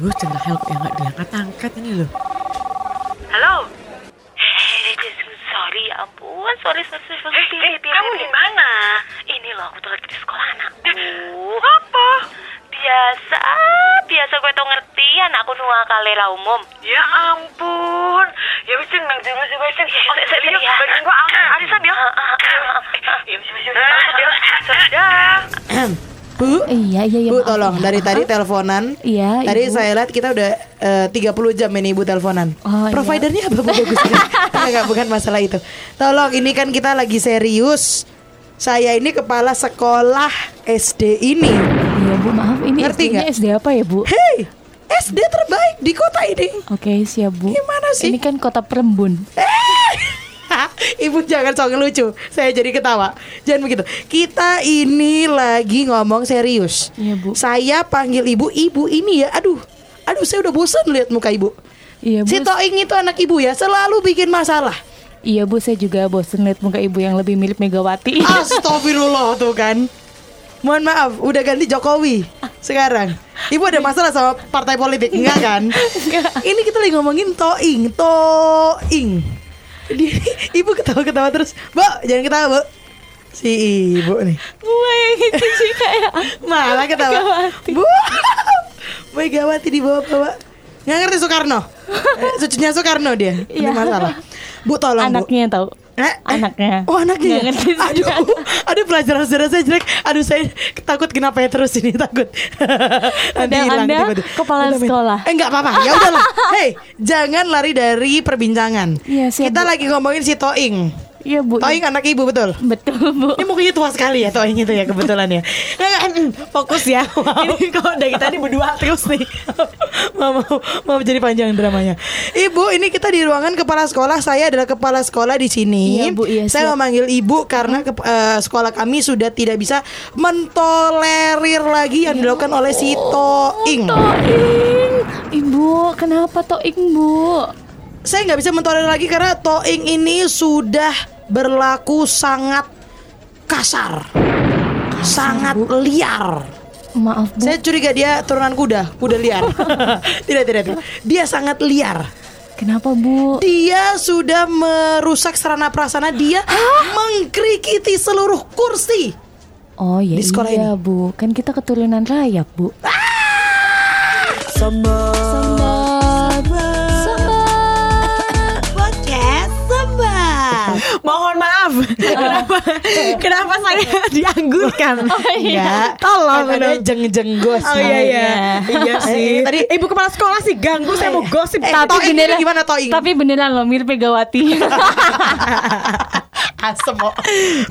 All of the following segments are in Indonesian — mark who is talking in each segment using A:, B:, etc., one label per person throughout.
A: Aduh, centang help yang nggak diangkat-angkat ini loh.
B: Halo,
C: Hei, sorry, ya ampun, sorry, sorry, sorry, sorry.
B: eh,
C: Bi,
B: eh,
C: bi, bi,
B: kamu
C: bi.
B: di mana?
C: Ini loh, aku tuh lagi di sekolah anakku.
B: Apa?
C: Biasa, biasa gue tuh ngerti anakku nua kalera umum.
B: Ya ampun, ya wis nang dulu sih wis.
C: iya,
B: Oh,
C: iya,
B: serius,
C: iya.
B: badan gua aman, arisan ya.
C: Ah, ah, ah, ah.
B: Ya wis wis wis. Masuk ya. Dadah.
D: Bu,
E: Iya, iya, iya.
D: Bu
E: maaf
D: tolong
E: ya.
D: dari tadi teleponan.
E: Iya,
D: Tadi
E: Ibu.
D: saya lihat kita udah eh, 30 jam ini Ibu teleponan.
E: Oh, iya.
D: Providernya apa Bu bagus ini? Enggak, bukan masalah itu. Tolong ini kan kita lagi serius. Saya ini kepala sekolah SD ini.
E: Iya, Bu, maaf. Ini
D: Ngerti
E: SD-nya
D: nggak?
E: SD apa ya, Bu?
D: Hey, SD terbaik di kota ini.
E: Oke, siap, Bu.
D: Gimana sih?
E: Ini kan kota Perembun.
D: Eh! Ibu jangan sok lucu, saya jadi ketawa. Jangan begitu. Kita ini lagi ngomong serius.
E: Iya, Bu.
D: Saya panggil ibu, ibu ini ya. Aduh, aduh, saya udah bosan lihat muka ibu.
E: Iya, Bu.
D: Si Toing itu anak ibu ya, selalu bikin masalah.
E: Iya, Bu, saya juga bosen lihat muka Ibu yang lebih mirip Megawati.
D: Ah. Astagfirullah tuh kan. Mohon maaf, udah ganti Jokowi
E: Ah.
D: sekarang. Ibu ada masalah sama partai politik enggak kan? Ini kita lagi ngomongin Toing, Toing. Dia- Ibu ketawa-ketawa terus. Bu, jangan ketawa, Bu. Si ibu nih
E: Gue yang itu sih kayak
D: malah ketawa.
E: Megawati.
D: Bu, Megawati dibawa-bawa. Nggak ngerti Soekarno. Eh, Cucunya Soekarno dia. Ini
E: Iya.
D: masalah. Bu tolong Bu.
E: anaknya tahu.
D: Eh, eh.
E: Anaknya.
D: Oh anaknya.
E: Nggak
D: ya?
E: ngerti sih.
D: Aduh, aduh pelajaran sejarah saya jelek. Aduh saya takut kenapa ya terus ini takut. Nanti
E: Padahal
D: hilang
E: Anda
D: tiba-tiba.
E: kepala
D: Bentar, bentar.
E: sekolah.
D: Eh enggak apa-apa. Ya udahlah. Hei, jangan lari dari perbincangan.
E: Iya, siap,
D: Kita
E: Bu.
D: lagi ngomongin si Toing.
E: Iya, Bu.
D: Toing anak ibu betul.
E: Betul, Bu.
D: Ini mukanya tua sekali ya Toing itu ya kebetulan ya. Nggak, nggak, mm, Fokus ya. Ini kok dari tadi berdua terus nih. mau, mau, mau jadi panjang dramanya. Ibu, ini kita di ruangan kepala sekolah. Saya adalah kepala sekolah di sini.
E: Iya, Bu, iya,
D: saya
E: siap.
D: memanggil Ibu karena ke- eh, sekolah kami sudah tidak bisa mentolerir lagi yang dilakukan oleh si Toing.
E: Toing. Ibu, kenapa Toing, Bu?
D: Saya nggak bisa mentolerir lagi karena Toing ini sudah berlaku sangat kasar. Sangat liar.
E: Maaf, Bu.
D: Saya curiga dia turunan kuda, kuda liar. tidak, tidak, tidak. Dia sangat liar.
E: Kenapa, Bu?
D: Dia sudah merusak sarana prasarana dia mengkrikiti seluruh kursi.
E: Oh, ya
D: Di sekolah
E: iya, Bu. Kan kita keturunan rayap, Bu.
A: Mohon maaf. kenapa kenapa saya dianggurkan?
D: Enggak.
A: Oh, iya. Tolong
D: Kan ada
A: dong.
D: jeng-jenggos.
A: Oh iya iya. Iya sih. Oh, iya.
D: Eh,
A: Tadi
D: tadi-
A: ibu kepala sekolah sih ganggu saya mau gosip.
D: Eh,
E: Tapi
D: Toing ini
E: beneran-
D: gimana Toing?
E: Tapi beneran loh mirip Megawati.
D: asem kok.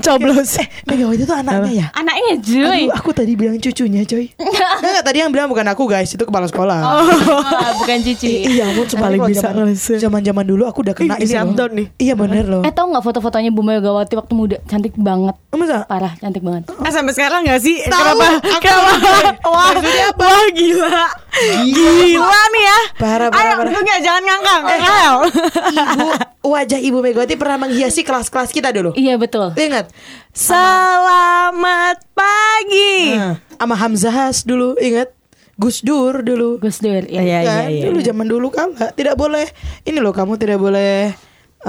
D: Coblos. Eh, Megawati itu anaknya ya?
E: Anaknya cuy.
D: Aduh, aku tadi bilang cucunya, coy. Enggak, tadi yang bilang bukan aku, guys. Itu kepala sekolah.
A: Oh,
D: Eh,
E: Ah, bukan cuci.
A: Iya, aku cuma
D: Tapi kalau
A: bisa
D: zaman-
A: ngeles.
D: Zaman-zaman dulu aku udah
A: Ih,
D: kena ini
A: bisa
D: loh.
A: down nih.
D: Iya bener loh.
E: Eh tau nggak foto-fotonya Bu Megawati waktu muda? Cantik banget.
D: Masa?
E: Parah, cantik banget.
A: Eh, sampai sekarang gak sih?
D: Tahu,
A: kenapa?
D: aku
A: Kenapa?
D: tahu.
A: Wah, wah gila. Gila nih ya.
D: Parah, parah,
A: Ayo,
D: parah.
A: enggak, jangan ngangkang. Ayo.
D: Eh, Ibu, wajah Ibu Megawati pernah menghiasi kelas-kelas kita dulu.
E: Iya betul.
D: Ingat?
A: Selamat pagi.
D: Nah, Sama Hamzahas dulu, ingat? Gus Dur dulu.
E: Gus Dur.
A: Iya,
E: ya.
A: iya,
D: Kan?
A: iya.
D: Dulu zaman dulu kala tidak boleh. Ini loh kamu tidak boleh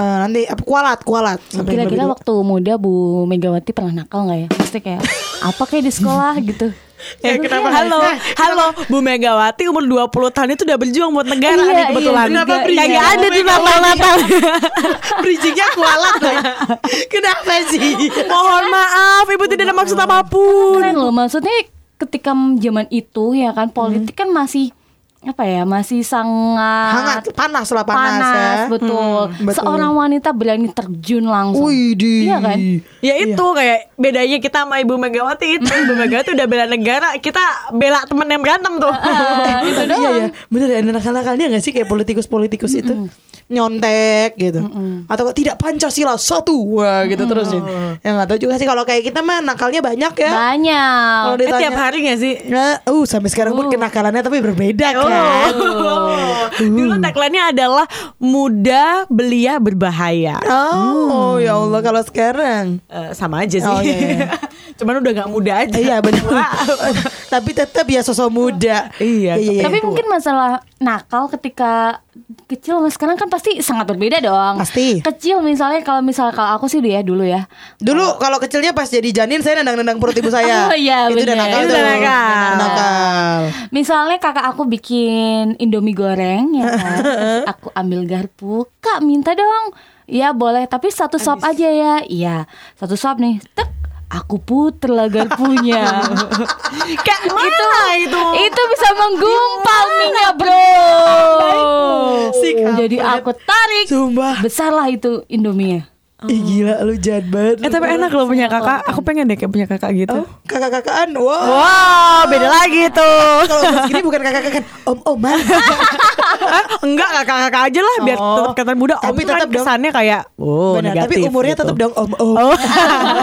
D: eh, nanti apa kualat, kualat. Sampai lebih
E: Kira-kira
D: dulu.
E: waktu muda Bu Megawati pernah nakal nggak ya? Pasti kayak apa kayak di sekolah gitu.
A: Ya, kenapa? Halo, halo Bu Megawati umur 20 tahun itu udah berjuang buat negara
E: Iya,
A: nih kebetulan.
E: iya, Kenapa juga.
A: Kayak
E: berisik?
A: nggak ada
D: Bu
A: di Natal-Natal.
D: Bridgingnya kualat loh. Kenapa sih?
A: Mohon maaf, Ibu tidak ada maksud apapun.
E: Keren loh. Maksudnya ketika zaman itu ya kan politik
D: Hmm.
E: kan masih apa ya masih sangat
D: Hangat, panas lah panas,
E: panas,
D: ya.
E: betul.
D: Hmm, betul.
E: Seorang wanita berani terjun langsung.
D: Widih.
E: Iya kan?
A: Ya itu kayak bedanya kita sama Ibu Megawati itu Ibu Megawati udah bela negara Kita bela temen yang berantem tuh
E: Ah, itu
D: Iya
E: doang.
D: ya, bener ya nakal-nakalnya gak sih kayak politikus-politikus itu nyontek gitu, atau kok tidak pancasila satu wah gitu terus ya. Yang nggak tahu juga sih kalau kayak kita mah nakalnya banyak ya.
E: Banyak.
D: Kalau
A: Eh,
D: ditanya,
A: Tiap hari gak sih?
D: Nah, uh sampai sekarang pun kenakalannya tapi berbeda
A: Oh.
D: kan.
A: Dulu tagline-nya adalah Muda belia berbahaya
D: Oh, ya Allah kalau sekarang.
A: Eh, Sama aja sih
D: Oh, iya, iya.
A: Cuman udah gak muda aja.
D: Iya benar.
A: Wow.
D: Tapi tetap ya sosok muda.
A: Iya,
E: Tapi
D: tua.
E: mungkin masalah nakal ketika kecil sama sekarang kan pasti sangat berbeda dong.
D: Pasti.
E: Kecil misalnya kalau misalnya kalau aku sih dulu ya dulu ya.
D: Dulu kalau kecilnya pas jadi janin saya nendang-nendang perut ibu saya.
E: Oh, iya,
D: Itu udah
E: bener.
D: nakal
A: Itu
D: tuh.
A: udah nakal.
D: Nakal.
E: Misalnya kakak aku bikin indomie goreng ya kan. Terus aku ambil garpu, "Kak, minta dong." Ya boleh, tapi satu sop aja ya. Iya, satu sop nih. Tek, aku puter lah garpunya.
A: Kak, mana itu?
E: Itu bisa menggumpal minyak, Bro.
D: Si kampret.
E: Jadi aku tarik.
D: Sumpah.
E: Besarlah itu indomie
D: Ih gila lu Oh. jahat
A: Oh.
D: banget.
A: Eh tapi enak loh punya kakak. Aku pengen deh kayak punya kakak gitu.
D: Kakak-kakaan.
A: Oh.
D: Wow.
A: Wow,
D: Oh.
A: beda lagi tuh.
D: Kalau umur segini bukan kakak-kakak, om-oman.
A: Eh, enggak kakak-kakak aja lah biar
D: Oh.
A: tetap kelihatan muda.
D: Tapi
A: Om kan
D: tetap dong.
A: kesannya kayak oh
D: Benar,
A: negatif.
D: tapi umurnya
A: gitu.
D: tetap dong om-om.
A: Oh.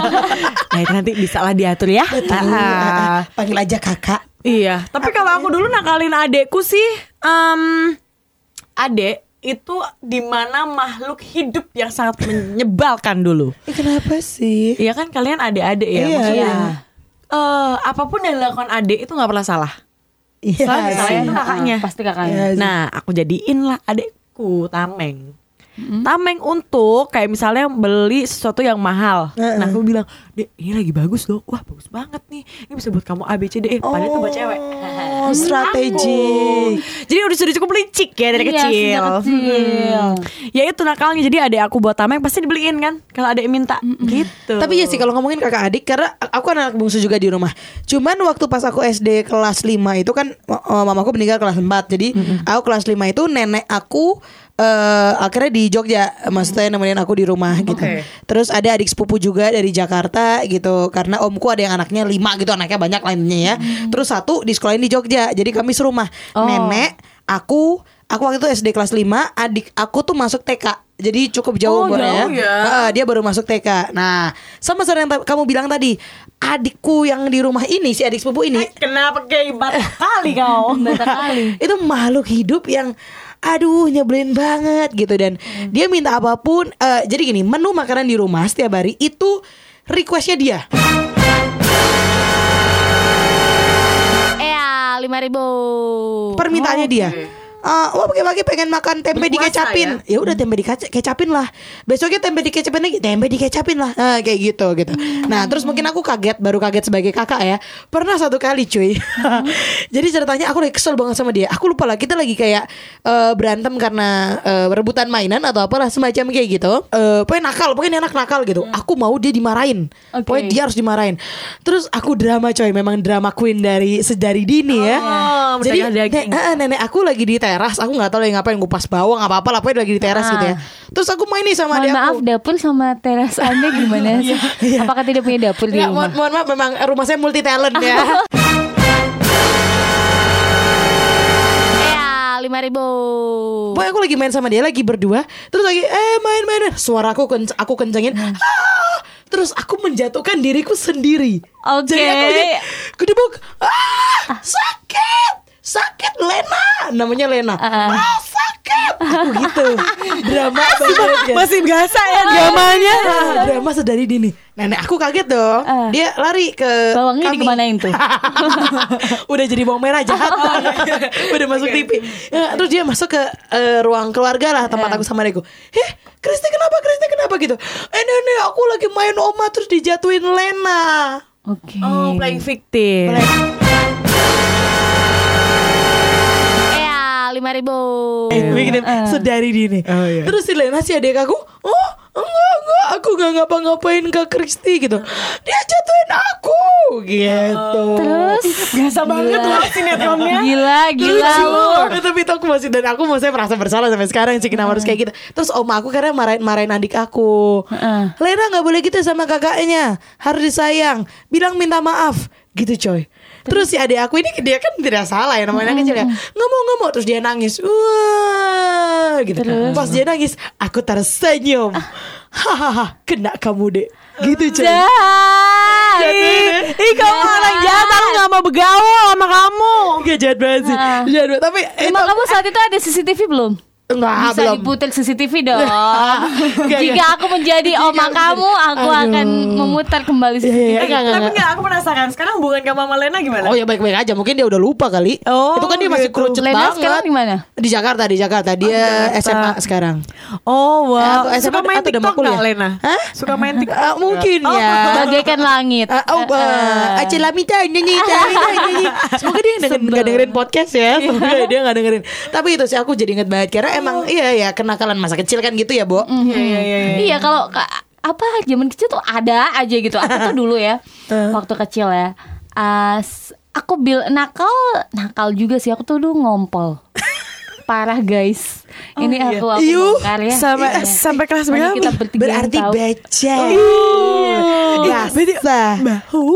A: nah itu nanti bisa lah diatur ya. Ah.
D: Panggil aja kakak.
A: Iya, tapi kalau aku dulu nakalin adekku sih, em adek itu dimana makhluk hidup yang sangat menyebalkan dulu.
D: Eh, kenapa sih?
A: Iya kan kalian adik-adik ya
D: Iya,
A: maksudnya.
D: iya.
A: Eh, apapun yang dilakukan adek itu nggak pernah salah. Soalnya
D: Iya.
A: misalnya
E: sih.
A: itu kakaknya.
E: Ah, pasti kakaknya.
D: Iya sih.
A: Nah, aku jadiin lah adekku tameng. Tameng untuk kayak misalnya beli sesuatu yang mahal. Nah, aku bilang, "Dek, ini lagi bagus loh. Wah, bagus banget nih. Ini bisa buat kamu A B C D E." Padahal itu buat cewek.
D: Oh, strategi.
A: Jadi udah sudah cukup licik ya dari
E: Iya,
A: kecil.
E: sejak kecil.
A: Ya itu nakalnya. Jadi adek aku buat tameng pasti dibeliin kan kalau adek minta gitu.
D: Tapi ya sih kalau ngomongin kakak adik karena aku kan anak bungsu juga di rumah. Cuman waktu pas aku SD kelas 5 itu kan eh, mamaku meninggal kelas 4. Jadi aku kelas 5 itu nenek aku eh akhirnya di Jogja maksudnya nemenin aku di rumah gitu. Terus ada adik sepupu juga dari Jakarta gitu karena omku ada yang anaknya 5 gitu anaknya banyak lainnya ya. Terus satu di sekolahin di Jogja. Jadi kami serumah. Nenek, aku Aku waktu itu SD kelas 5 Adik aku tuh masuk TK Jadi cukup jauh
A: Oh,
D: Mbak,
A: jauh ya.
D: Heeh, dia baru masuk TK. Nah, sama seperti yang ta- kamu bilang tadi, adikku yang di rumah ini, si adik sepupu ini,
A: kenapa kayak ibarat kali kau?
E: Betul kali.
D: itu makhluk hidup yang aduh nyebelin banget gitu dan
A: Hmm.
D: dia minta apapun. eh, jadi gini, menu makanan di rumah setiap hari itu requestnya dia.
E: Iya, lima ribu. Oh,
D: permintaannya dia. Eh, wah pagi-pagi pengen makan tempe dikecapin. Ya udah tempe dikecapin lah. Besoknya tempe dikecapin lagi, tempe dikecapin lah. Nah, kayak gitu gitu. Nah, terus mungkin aku kaget, baru kaget sebagai kakak ya. Pernah satu kali, cuy. Jadi ceritanya aku lagi kesel banget sama dia. Aku lupa lah kita lagi kayak eh, berantem karena eh, rebutan mainan atau apalah semacam kayak gitu. Eh, pokoknya nakal, pokoknya enak nakal gitu. Aku mau dia dimarahin.
E: Oke.
D: Pokoknya dia harus dimarahin. Terus aku drama coy, memang drama queen dari sedari dini ya.
A: Oh,
D: Jadi
A: berdagang daging.
D: ne- eh, nenek aku lagi di teras, aku nggak tahu lagi ngapain kupas bawang apa apa lah, pokoknya lagi di teras gitu ya. Terus aku main nih sama
E: Ah. Mohon
D: adik
E: maaf
D: aku. Iya.
E: dapur sama teras Anda gimana sih? Apakah tidak punya dapur di
D: Nggak, mohon,
E: rumah?
D: mohon maaf memang rumah saya multi talent ya.
E: Iya, lima ribu.
D: Pokoknya aku lagi main sama dia lagi berdua, terus lagi eh main main, main. suara aku kenc- aku kencengin.
A: Hmm.
D: "Ah!" Terus aku menjatuhkan diriku sendiri.
E: Oke.
D: Jadi aku jadi gedebuk. Ah, sakit. Sakit Lena. Namanya Lena.
A: Uh-uh.
E: Ah.
D: Ah, sakit. Aku gitu. Drama banget. guys.
A: Masih biasa ya dramanya. Uh.
D: Ah, drama sedari dini. Nenek aku kaget dong.
E: Ah.
D: Dia lari ke
E: Bawangnya
D: kami.
E: dikemanain tuh? Oh,
D: Udah jadi bawang merah jahat.
E: iya.
D: Udah masuk TV. Ya, terus dia masuk ke eh, ruang keluarga lah tempat
E: Iya.
D: aku sama adikku. Eh, Kristi kenapa? Kristi kenapa gitu? Eh, nenek aku lagi main oma terus dijatuhin Lena.
E: Oke.
A: Oh, playing victim.
E: Iya, lima ribu. Iya.
D: Bikin
E: Ah.
D: sedari dini. Terus si Lena si adik aku, oh enggak enggak aku nggak ngapa-ngapain ke Kristi gitu.
E: Ah.
D: Dia jatuhin aku gitu.
E: Terus biasa
A: banget loh sinetronnya.
E: Gila, Ah, gila lu.
D: Lucu. Eh, Tapi itu aku masih dan aku masih merasa bersalah sampai sekarang sih kenapa harus
E: Hmm.
D: kayak gitu. Terus oma aku karena marahin-marahin adik aku.
E: Heeh.
D: Lena nggak boleh gitu sama kakaknya, harus disayang. Bilang minta maaf gitu coy. Terus si adik aku ini dia kan tidak salah ya namanya anak kecil
E: Hmm.
D: ya. Nggak mau nggak mau terus dia nangis. Wah gitu. Pas dia nangis, aku tersenyum.
E: Ah.
D: Hahaha, kena kamu deh. Gitu coy.
E: Jahat.
A: Ih,
D: Iya.
A: ih, kamu
E: Jahat.
A: orang jahat, aku gak mau bergaul sama kamu.
D: Gak jahat banget sih.
E: Ah.
D: Jahat banget. Tapi
E: Rumah kamu saat itu ada CCTV belum?
D: Enggak,
E: Bisa
D: belum.
E: diputar CCTV dong.
D: Enggak,
E: Jika
D: enggak.
E: aku menjadi
D: Jika
E: oma
D: aku
E: kamu,
D: menjadi-
E: aku
D: Aduh.
E: akan memutar kembali
D: Iya, iya,
E: CCTV.
D: iya. Enggak,
A: Eh, Tapi
D: enggak, enggak.
A: enggak aku penasaran Sekarang hubungan kamu sama Lena gimana?
D: Oh ya baik-baik aja Mungkin dia udah lupa kali
A: Oh,
D: Itu kan dia masih
A: gitu.
D: kerucut
E: Lena
D: banget
E: sekarang di mana?
D: Di Jakarta Di Jakarta Dia SMA sekarang
A: Oh wow
D: Eh, atau
A: Suka
D: SMA
A: main
D: atau udah
A: TikTok
D: makul ya?
A: gak Lena?
D: Hah?
A: Suka main TikTok
D: Eh, Mungkin
A: Oh,
D: ya
E: Bagaikan langit.
D: Eh, Oh,
E: Eh, eh.
D: Acelamita nyanyi, Acelamita nyanyi. Semoga dia denger, gak dengerin podcast
A: Iya.
D: ya. Semoga dia gak dengerin. Tapi itu sih aku jadi inget banget karena emang iya ya kenakalan masa kecil kan gitu ya, Bo.
A: Iya iya iya
E: Iya kalau ka- apa zaman kecil tuh ada aja gitu. Aku tuh dulu ya waktu kecil ya. as aku bil nakal nakal juga sih aku tuh dulu ngompol. Parah guys. Ini aku aku
D: Iyu,
E: bongkar ya.
A: Oh, iya. Sampai,
E: Iya.
A: sampai kelas
E: Nanti
A: berapa?
E: kita bertiga yang
D: Berarti
E: tahu.
D: baca.
A: Iya, berarti
D: Biasa.
A: bahu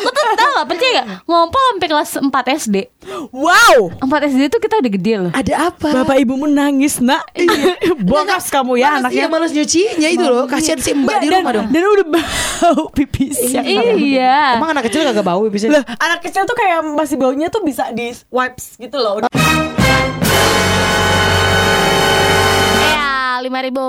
E: Aku tuh tau gak percaya gak Ngompol sampai kelas 4 SD
A: Wow
E: 4 SD tuh kita udah gede loh
D: Ada apa?
A: Bapak ibumu nangis nak
D: Iya.
A: Bokas kamu ya
D: Males
A: anaknya Iya.
D: dia males nyucinya itu loh. Kasihan si Mbak di
A: Dan-
D: rumah dong.
A: Dan udah bau pipisnya
E: Iya
D: Emang anak kecil kagak bau bisa.
A: Lah, anak kecil tuh kayak masih baunya tuh bisa di wipes gitu loh.
E: Ya 5 ribu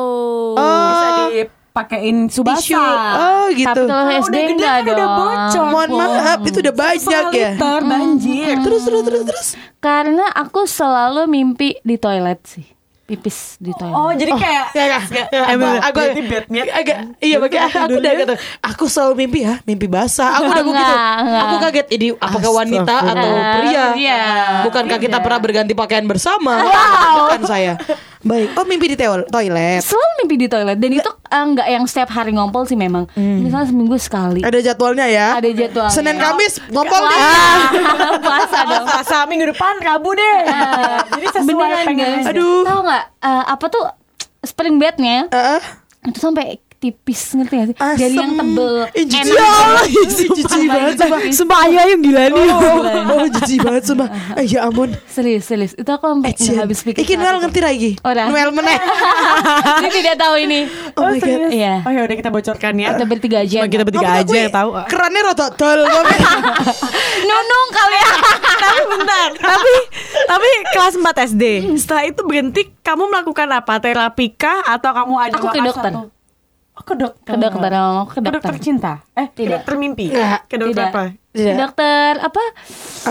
D: Oh, ah.
A: Bisa dipakein
D: Tisu.
A: subasa.
D: Oh
E: Tapi
D: gitu.
E: kalau
A: Kalau
E: SD
A: udah gede
E: enggak
A: kan udah
E: dong
A: bocor.
D: Mohon maaf, itu udah banyak
A: Setengah
D: ya.
A: liter banjir.
D: Terus terus terus terus.
E: Hmm. Karena aku selalu mimpi di toilet sih Pipis di toilet
A: Oh, jadi kayak
D: Ya, ya, ya,
A: Emang
D: aku
A: berarti bednya
D: agak iya bagi aku udah kata aku selalu mimpi ya mimpi basah aku udah begitu
E: Enggak, enggak.
D: aku kaget ini apakah wanita atau
E: Astagfirullah.
D: pria
E: Iya.
D: bukankah kita
E: Tidak.
D: pernah berganti pakaian bersama bukan saya baik oh mimpi di teo- toilet
E: Selalu mimpi di toilet Dan itu eh, nggak yang setiap hari ngompol sih memang
D: Hmm.
E: Misalnya seminggu sekali
D: ada jadwalnya ya
E: Ada jadwalnya.
D: Senin Kamis ngompol
E: Puasa.
D: deh
E: Puasa dong Nah,
A: Masa minggu depan kamu deh. jadi sesuai
E: Eh, Beneran
A: pengen.
E: guys
D: Aduh.
E: Tahu nggak eh, Apa tuh Spring bednya
D: Heeh.
E: itu sampai tipis ngerti gak sih?
D: Asem.
E: Jadi yang tebel.
D: Ih, jijik.
E: Enak.
D: Ya Allah, ih,
E: Sumpah,
D: jijik banget,
E: sumpah.
A: Sumpah ayah yang gila nih.
D: Oh, oh jijik banget sumpah. Eh ya ampun. Eh,
E: Serius, serius. Itu aku sampai nggak habis pikir.
D: Iki Noel ngerti lagi.
E: Ora.
D: Noel meneh.
E: Ini tidak tahu ini.
D: Oh my god.
E: Iya.
A: Oh ya udah kita bocorkan ya.
E: Kita bertiga aja.
A: Cuma kita bertiga
D: Ngomong
A: aja
D: aku,
A: yang tahu.
D: Kerannya rotok tol.
E: Nunung kali ya.
A: tapi bentar, tapi tapi kelas 4 SD. Setelah itu berhenti, kamu melakukan apa? Terapi kah atau kamu ada
E: Aku ke
A: wakas
E: dokter.
A: atau- Oh, ke dokter.
E: Ke dokter, oh,
A: Ke
E: ke dokter.
A: dokter cinta. Eh, ke
E: Tidak.
A: dokter mimpi.
D: Enggak.
A: Ke dokter
E: Tidak.
A: apa?
D: Tidak.
E: Dokter apa?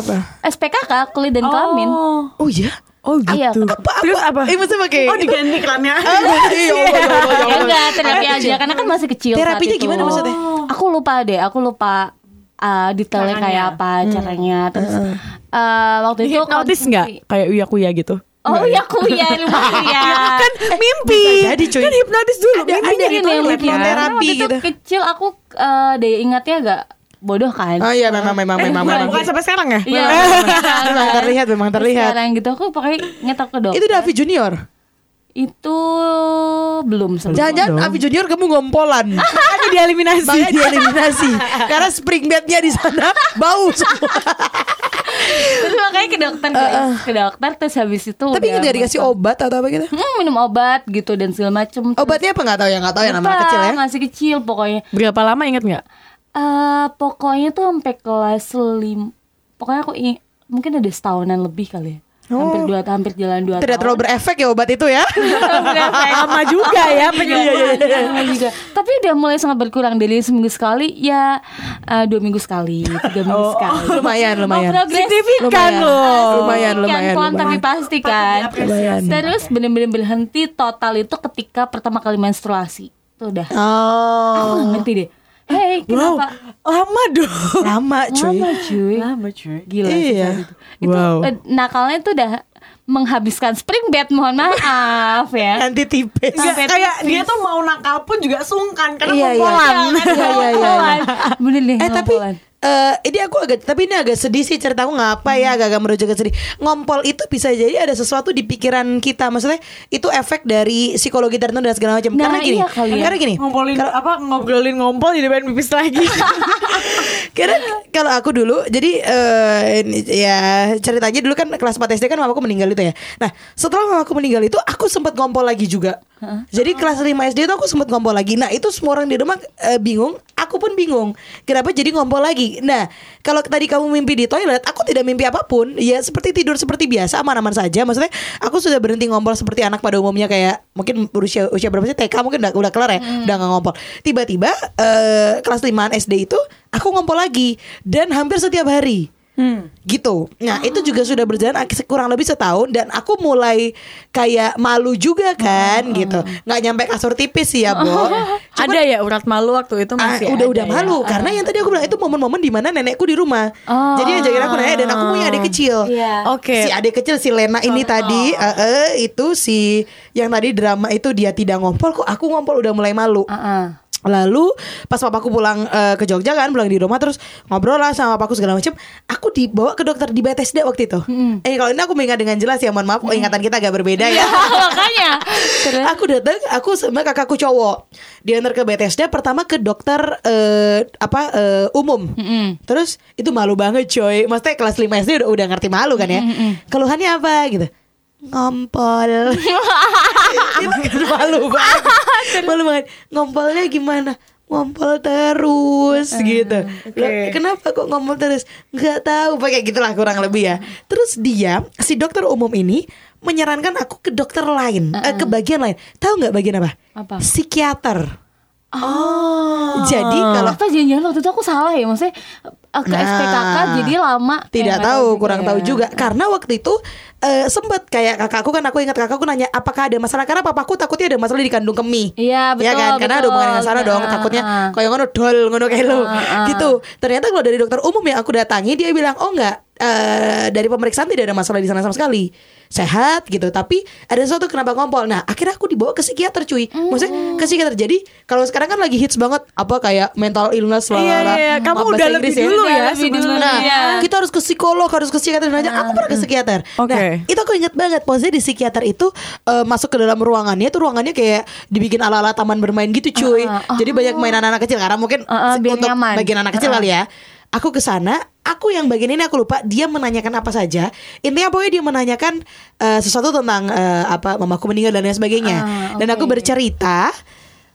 D: Apa?
E: SPKK kulit dan kelamin.
A: Oh,
D: Oh iya.
A: oh gitu.
E: Iya.
D: Apa, apa?
A: Terus apa?
D: Eh, maksudnya pakai-
A: Oh, diganti kelamnya.
D: Ah, iya, iya, iya, iya,
E: Ya
D: iya.
E: enggak, terapi
D: Anak
E: aja
D: kecil.
E: karena kan masih kecil. saat
D: Terapinya
E: itu.
D: gimana maksudnya?
E: Aku lupa deh, aku lupa eh, detailnya
A: Caranya.
E: kayak apa
D: Hmm.
E: caranya. Terus eh, waktu itu
A: Hipnotis
E: konsumsi-
A: nggak? Kayak uya kuya gitu.
E: Oh
D: ya?
E: iya kuya, ilmu
D: Iya,
E: kuya.
A: kan mimpi.
D: bisa jadi, cuy.
A: Kan hipnotis dulu. gitu
D: Ada-
A: mimpi
D: ada
A: jadi
E: Mungkin ya,
A: toilet.
E: mungkin.
D: ya.
E: Karena waktu
D: Terapi
E: itu
D: gitu.
E: kecil aku eh, daya ingatnya agak bodoh kan.
D: Oh iya memang memang
A: Eh,
D: memang
A: bukan,
D: memang.
A: bukan sampai sekarang ya?
E: Iya.
D: Memang terlihat memang
E: Terus
D: terlihat.
E: Sekarang gitu aku pakai nyetok ke dok.
D: Itu
E: Itu,
D: udah Avi Junior.
E: belum sebelum.
D: Jangan-jangan Avi Junior kamu ngompolan.
A: Kan Ada Iya. dieliminasi.
D: Makanya dieliminasi Karena spring bednya di sana bau semua.
E: Terus makanya ke dokter guys, ke dokter terus habis itu
D: Tapi
E: udah
D: nggak dikasih obat atau apa gitu?
E: Hmm, minum obat gitu dan segala macem Terus-
D: Obatnya apa nggak tahu ya nggak tahu ya nama anak
E: Lupa,
D: kecil ya.
E: Masih kecil pokoknya.
A: Berapa lama inget nggak?
E: Eh pokoknya tuh sampai kelas lim pokoknya aku ing- mungkin ada setahunan lebih kali ya.
D: Oh.
E: Hampir dua hampir jalan dua
D: Tidak
E: tahun.
D: terlalu berefek ya obat itu ya.
E: Iya,
A: Lama juga ya
D: Iya,
A: penyembuhannya.
E: juga. Iya, Tapi udah mulai sangat berkurang dari seminggu sekali ya eh, dua minggu sekali, tiga minggu sekali.
D: Oh, lumayan, lumayan.
E: progres.
D: ya,
A: Signifikan
D: Lumayan.
A: loh.
D: Lumayan,
E: Kan
D: lumayan,
E: pelan tapi
D: lumayan.
E: pasti kan.
D: Lumayan.
E: Terus bener-bener berhenti total itu ketika pertama kali menstruasi. Itu udah. Aku
D: Oh,
E: nggak ngerti deh. Hei,
A: Wow,
E: kenapa?
A: lama dong.
D: lama cuy.
E: Lama cuy.
A: Lama cuy.
E: Gila sih
D: Iya.
E: saat itu. Itu
A: Wow.
E: eh, nakalnya tuh udah menghabiskan spring bed, mohon maaf ya.
D: Anti tipes.
A: Nggak,
E: Sampai
A: kayak
E: tipis.
A: dia tuh mau nakal pun juga sungkan karena kan?
D: Iya,
A: mau
D: iya.
A: pulang.
D: Iya, iya, iya.
E: Ngompolan. Bener deh,
D: Eh tapi
E: ngompolan.
D: eh ini aku agak tapi ini agak sedih sih ceritaku ngapa ya
E: Hmm.
D: agak-agak merujuk ke sedih. Ngompol itu bisa jadi ada sesuatu di pikiran kita. Maksudnya itu efek dari psikologi tertentu dan segala macam.
E: Nah,
D: karena gini,
E: iya kali ya.
D: karena gini.
A: Ngompolin
D: kalau-
A: apa ngobrolin ngompol jadi pengen pipis lagi.
D: Karena kalau aku dulu jadi eh, ini- ya ceritanya dulu kan kelas 4 SD kan mamaku meninggal itu ya. Nah, setelah mamaku meninggal itu aku sempat ngompol lagi juga. Jadi kelas 5 SD itu aku sempat ngompol lagi. Nah, itu semua orang di rumah eh, bingung, aku pun bingung. Kenapa jadi ngompol lagi? Nah, kalau tadi kamu mimpi di toilet, aku tidak mimpi apapun. Ya seperti tidur seperti biasa, aman-aman saja. Maksudnya aku sudah berhenti ngompol seperti anak pada umumnya kayak mungkin usia usia berapa sih TK mungkin udah udah kelar ya, udah nggak ngompol. Tiba-tiba eh, kelas 5 SD itu aku ngompol lagi dan hampir setiap hari gitu. Nah itu juga sudah berjalan ak- kurang lebih setahun dan aku mulai kayak malu juga kan gitu. Nggak nyampe kasur tipis sih ya, Bo.
A: ada ya urat malu waktu itu
D: Ah,
A: masih
D: udah
A: ada
D: udah
A: ya?
D: malu karena yang tadi aku bilang itu momen-momen di mana nenekku di rumah.
E: Oh.
D: Jadi ajakin aku nenek dan aku punya adik kecil.
E: Iya.
A: Oke. Oh.
D: Si adik kecil si Lena ini tadi eh, eh, itu si yang tadi drama itu dia tidak ngompol kok aku ngompol udah mulai malu.
A: Ah.
E: Heeh.
D: Lalu pas papaku pulang eh, ke Jogja kan pulang di rumah terus ngobrol lah sama papaku segala macam. Aku dibawa ke dokter di BTSD waktu itu. Eh kalau ini aku mengingat dengan jelas ya mohon maaf ingatan kita agak berbeda ya.
A: Iya.
E: Makanya. Terus
D: aku datang aku sama kakakku cowok diantar ke BTSD pertama ke dokter eh, apa eh, umum. Terus itu malu banget coy. Maksudnya kelas 5 SD udah udah ngerti malu kan ya. Keluhannya apa gitu? Ngompol. Ini kan malu banget Malu banget Ngompolnya gimana Ngompol terus gitu Loh, Kenapa kok ngompol terus Gak tahu Pakai gitulah kurang lebih ya Terus dia Si dokter umum ini Menyarankan aku ke dokter lain eh, Ke bagian lain Tahu gak bagian apa?
E: Apa?
D: Psikiater Oh Jadi kalau
E: apa janjian waktu itu aku salah ya maksudnya eh, ke
D: Nah,
E: SPKK jadi lama. Eh,
D: Tidak
E: Kayak
D: tahu,
E: mereka
D: kurang tahu
E: ya.
D: juga. Karena waktu itu eh, sempat kayak kakakku kan aku ingat kakakku nanya apakah ada masalah karena papaku takutnya ada masalah di kandung kemih.
E: Iya,
D: Ya
E: betul,
D: kan? Karena ada
E: betul.
D: hubungan dengan sana dong,
E: Ah,
D: takutnya
E: ah.
D: kayak ngono dol ngono kayak lo.
E: Ah, ah.
D: Gitu. Ternyata kalau dari dokter umum yang aku datangi dia bilang, "Oh enggak, eh, dari pemeriksaan tidak ada masalah di sana sama sekali." Sehat gitu, tapi ada sesuatu kenapa ngompol. Nah, akhirnya aku dibawa ke psikiater cuy. Maksudnya ke psikiater. Jadi, kalau sekarang kan lagi hits banget apa kayak mental illness lah.
A: Iya, iya, iya. Kamu udah lebih dulu
E: Udah
A: ya
E: lebih dulu,
A: sebenarnya.
D: Nah,
E: iya.
D: kita harus ke psikolog, harus ke psikiater dan aja. Aku pernah ke psikiater.
A: Oke.
D: Nah, itu aku ingat banget. Posisinya di psikiater itu eh, masuk ke dalam ruangannya, itu ruangannya kayak dibikin ala-ala taman bermain gitu, cuy.
E: Ah, ah.
D: Jadi banyak mainan anak kecil karena mungkin
E: Ah, ah,
D: se-
E: biar
D: untuk
E: nyaman.
D: bagian anak kecil
E: Ah, ah.
D: kali ya. Aku ke sana, aku yang bagian ini aku lupa dia menanyakan apa saja. Intinya pokoknya dia menanyakan eh, sesuatu tentang eh, apa mamaku meninggal dan lain sebagainya.
E: Ah,
D: Dan aku
E: oke.
D: bercerita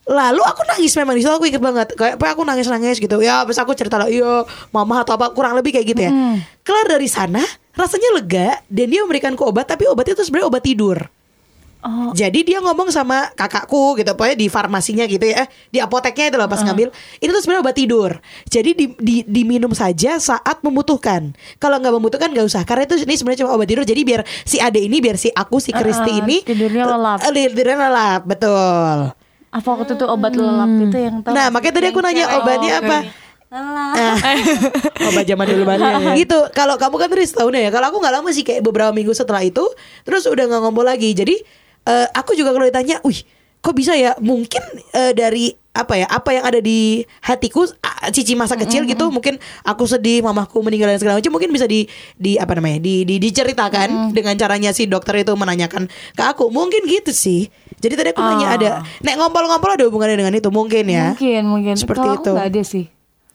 D: Lalu aku nangis memang di situ aku inget banget kayak apa aku nangis nangis gitu ya terus aku cerita lah iya mama atau apa kurang lebih kayak gitu ya
E: Hmm.
D: kelar dari sana rasanya lega dan dia memberikanku obat tapi obatnya itu sebenarnya obat tidur
E: Oh.
D: jadi dia ngomong sama kakakku gitu pokoknya di farmasinya gitu ya eh, di apoteknya itu loh
E: Ah.
D: pas ngambil ini tuh sebenarnya obat tidur jadi di, di- diminum saja saat membutuhkan kalau nggak membutuhkan nggak usah karena itu ini sebenarnya cuma obat tidur jadi biar si ade ini biar si aku si Kristi
E: ah,
D: ini
E: tidurnya lelap.
D: Eh, tidurnya lelap betul
E: Apa waktu itu obat lelap itu yang tahu?
D: Nah makanya tadi aku nanya obatnya
E: Oh,
D: apa
E: Lelap.
D: Ah, Obat zaman dulu banget Gitu Kalau kamu kan tadi setahun ya Kalau aku gak lama sih Kayak beberapa minggu setelah itu Terus udah gak ngompol lagi Jadi eh, Aku juga kalau ditanya Wih kok bisa ya Mungkin eh, dari apa ya apa yang ada di hatiku ah, cici masa kecil gitu mungkin aku sedih mamaku meninggal dan segala macam mungkin bisa di di apa namanya di, di diceritakan dengan caranya si dokter itu menanyakan ke aku mungkin gitu sih jadi tadi aku nanya ada nek ngompol-ngompol ada hubungannya dengan itu Ah. mungkin ya
E: Mungkin mungkin.
D: Seperti
E: Kalau
D: itu.
E: Aku gak ada sih.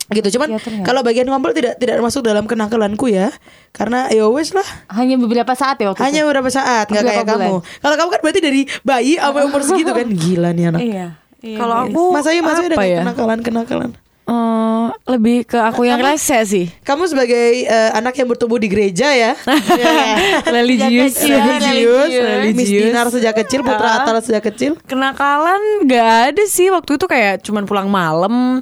D: gitu cuman
E: Psikiater nggak?
D: kalau bagian ngompol tidak tidak masuk dalam kenakalanku ya karena ya wes lah
E: Hanya beberapa saat ya waktu itu.
D: hanya beberapa saat nggak
E: Beberapa
D: kayak kamu kalau kamu kan berarti dari bayi sampai umur segitu kan gila nih anak
E: Iya. iya.
A: Kalau aku
D: Mas Ayu Mas Ayu ada
A: apa
D: nggak
A: ya?
D: kenakalan kenakalan
A: Eh, lebih ke aku yang rese sih.
D: kamu sebagai eh, anak yang bertumbuh di gereja ya Ya.
A: religius,
E: Iya,
D: religius
A: religius.
D: Miss Dinar sejak kecil Putra Atal sejak kecil
A: Kenakalan gak ada sih waktu itu kayak cuman pulang malam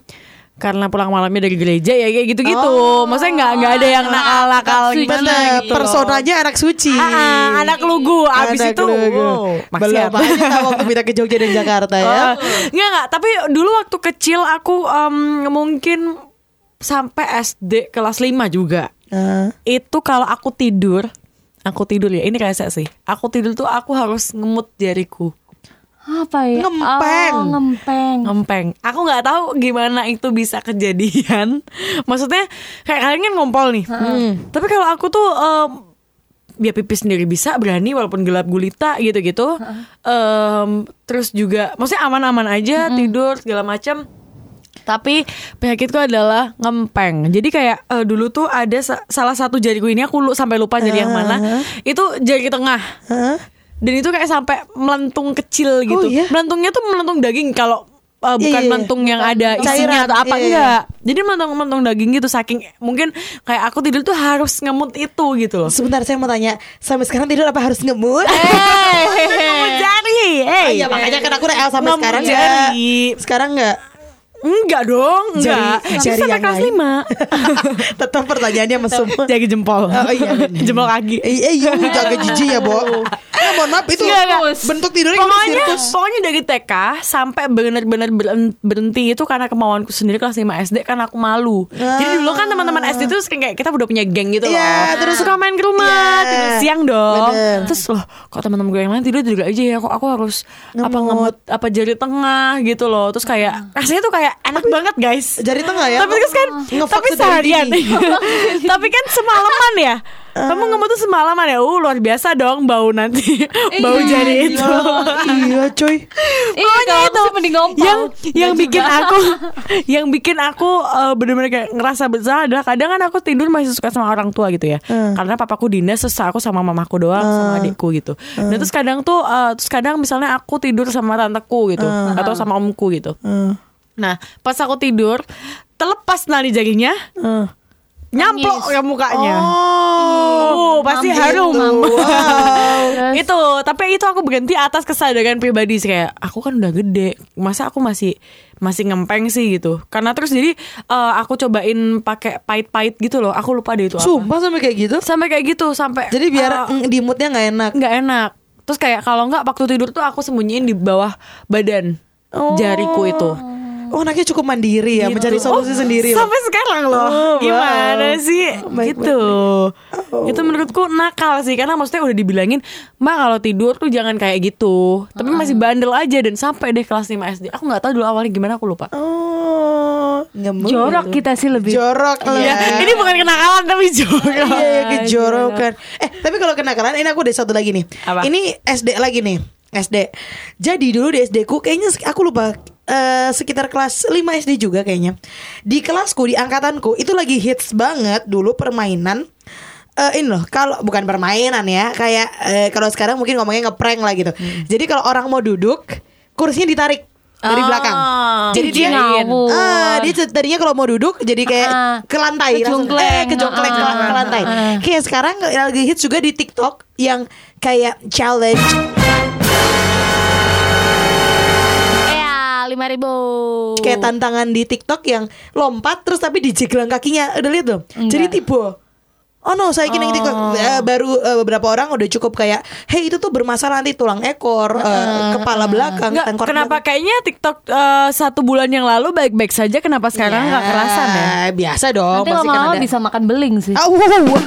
A: karena pulang malamnya dari gereja ya kayak gitu-gitu. Maksudnya nggak nggak ada yang nakal-nakal
E: Nggak
A: gimana
E: suci.
D: Oh. Nah, Bener, ya.
A: gitu.
D: personanya anak suci
A: Ah, ah, anak lugu abis
D: Anak
A: itu
D: lugu.
A: wow,
D: Belum
A: maksiat.
D: makanya tahu waktu pindah ke Jogja dan Jakarta ya
A: Eh, Nggak nggak. Tapi dulu waktu kecil aku em, mungkin sampai SD kelas 5 juga.
D: Ah.
A: Itu kalau aku tidur, aku tidur ya. Ini kayak sih. Aku tidur tuh aku harus ngemut jariku.
E: apa ya?
D: Ngempeng.
E: Oh, ngempeng.
A: ngempeng. Aku nggak tahu gimana itu bisa kejadian. Maksudnya kayak kalian kan ngompol nih. Tapi kalau aku tuh em, ya pipis sendiri bisa berani walaupun gelap gulita gitu-gitu. Em, terus juga maksudnya aman-aman aja tidur segala macam. Tapi penyakitku adalah ngempeng. Jadi kayak eh, dulu tuh
D: eh,
A: ada sa- salah satu jariku ini aku lu sampai lupa jadi yang mana. Itu jari tengah. dan itu kayak sampai melentung kecil gitu.
D: iya?
A: Melentungnya tuh melentung daging kalau uh, bukan
D: Iya, iya, iya.
A: melentung yang ada isinya
D: Cairan,
A: atau apa
D: iya, iya.
A: enggak. Jadi melentung-melentung daging gitu saking mungkin kayak aku tidur tuh harus ngemut itu gitu loh.
D: Sebentar saya mau tanya, sampai sekarang tidur apa harus ngemut?
A: Eh. Ngemut jari.
D: Ah,
A: Hey.
D: Iya makanya kan aku real sampai
A: Ngemut
D: sekarang enggak.
A: jari.
D: Sekarang enggak.
A: Enggak dong, enggak.
D: Jari-
A: Saya
D: jari
A: sampai
D: yang
A: kelas
D: lain.
A: 5.
D: Tetap pertanyaannya sama semua.
A: Jaga jempol.
D: Oh, iya, bener.
A: jempol kaki.
D: Iya, iya, jaga jijik ya, Bo. Eh, mohon maaf itu
A: Enggak, enggak.
D: bentuk tidurnya kayak
A: Pokoknya,
D: sirkus.
A: pokoknya dari TK sampai benar-benar beren- berhenti itu karena kemauanku sendiri kelas 5 SD karena kan aku malu. Jadi dulu kan teman-teman SD itu kayak kita udah punya geng gitu loh.
D: Ah. Iya, terus-
A: suka main ke rumah,
D: Iya.
A: tidur siang dong.
D: Bener.
A: Terus loh, kok teman-teman gue yang lain tidur juga aja ya, kok aku harus apa ngemut apa jari tengah gitu loh. Terus kayak
D: Hmm.
A: rasanya tuh kayak enak banget, guys.
D: Jari tengah ya.
A: Tapi terus kan
D: Ngefuck
A: Tapi
D: sedari
A: seharian
D: dini.
A: Tapi kan semalaman ya Kamu ngemut tuh semalaman ya Uh luar biasa dong bau nanti Bau
E: Iya,
A: jari
E: iya.
A: itu
D: iya, coy.
E: Iya, kalau aku sih mending ngompol.
A: yang yang
E: Dan
A: bikin
E: juga-
A: aku yang bikin aku eh, bener-bener kayak ngerasa bersalah adalah kadang kan aku tidur masih suka sama orang tua gitu ya karena papaku dinas terus aku sama mamaku doang sama adikku gitu nah terus kadang tuh eh, terus kadang misalnya aku tidur sama tanteku gitu atau sama omku gitu
D: Eh,
A: nah pas aku tidur terlepas nani jarinya
D: eh.
A: nyamplok ke mukanya
D: Oh,
A: Oh, pasti
D: Mampu
A: harum.
D: itu. Wow.
E: Terus-
A: itu, tapi itu aku berhenti atas kesadaran pribadi sih kayak aku kan udah gede, masa aku masih masih ngempeng sih gitu. Karena terus jadi eh, aku cobain pakai pahit-pahit gitu loh. Aku lupa deh itu apa.
D: Sumpah sampai kayak gitu.
A: Sampai kayak gitu, sampai
D: Jadi biar
A: eh,
D: mm, di moodnya nggak enak.
A: nggak enak. Terus kayak kalau nggak waktu tidur tuh aku sembunyiin di bawah badan
D: Oh.
A: jariku itu.
D: Oh, anaknya cukup mandiri ya,
A: Gitu.
D: mencari solusi
A: Oh,
D: sendiri. loh.
A: Sampai sekarang loh.
D: Oh,
A: Gimana
D: wow. Oh,
A: sih?
D: Baik,
A: gitu. Itu menurutku nakal sih karena maksudnya udah dibilangin, "Mbak kalau tidur tuh jangan kayak gitu." Tapi
D: Ah.
A: masih bandel aja dan sampai deh kelas 5 SD. Aku nggak tahu dulu awalnya gimana aku lupa.
D: Oh, ngemut.
E: jorok kita sih lebih.
D: Jorok lah. ya.
A: Iya, ini bukan kenakalan tapi jorok.
D: Oh, Iya, iya, kejorokan. Eh, tapi kalau kenakalan ini aku ada satu lagi nih.
A: Apa?
D: Ini SD lagi nih. SD. Jadi dulu di SD ku kayaknya sek- aku lupa eh, sekitar kelas 5 SD juga kayaknya. Di kelasku, di angkatanku itu lagi hits banget dulu permainan eh ini loh kalau bukan permainan ya kayak eh, kalau sekarang mungkin ngomongnya ngeprank lah gitu. Jadi kalau orang mau duduk kursinya ditarik dari
A: Ah,
D: belakang. Jadi dia
E: Ih, ngawur.
D: Ah, dia cer- tadinya kalau mau duduk jadi kayak
E: Ah.
D: ke lantai langsung,
E: Kejongkleng.
D: eh, kejongkleng ke,
E: Ah.
D: ke lantai.
E: Ah.
D: Kayak sekarang lagi hits juga di TikTok yang kayak challenge
E: Iya, lima ribu.
D: kayak tantangan di TikTok yang lompat terus tapi dijeglang kakinya. Udah lihat dong. Jadi tipe Oh no, saya kira yang TikTok Eh, baru eh, beberapa orang udah cukup kayak, hey itu tuh bermasalah nanti tulang ekor, eh, kepala belakang,
A: Nggak,
D: tengkorak
A: kenapa kayaknya TikTok eh, satu bulan yang lalu baik-baik saja kenapa sekarang
D: Iya.
A: nggak kerasan ya?
D: Biasa dong.
E: Nanti
D: pasti kan
E: lama-lama
D: ada.
E: bisa makan beling sih.
D: Ah, wow, wow.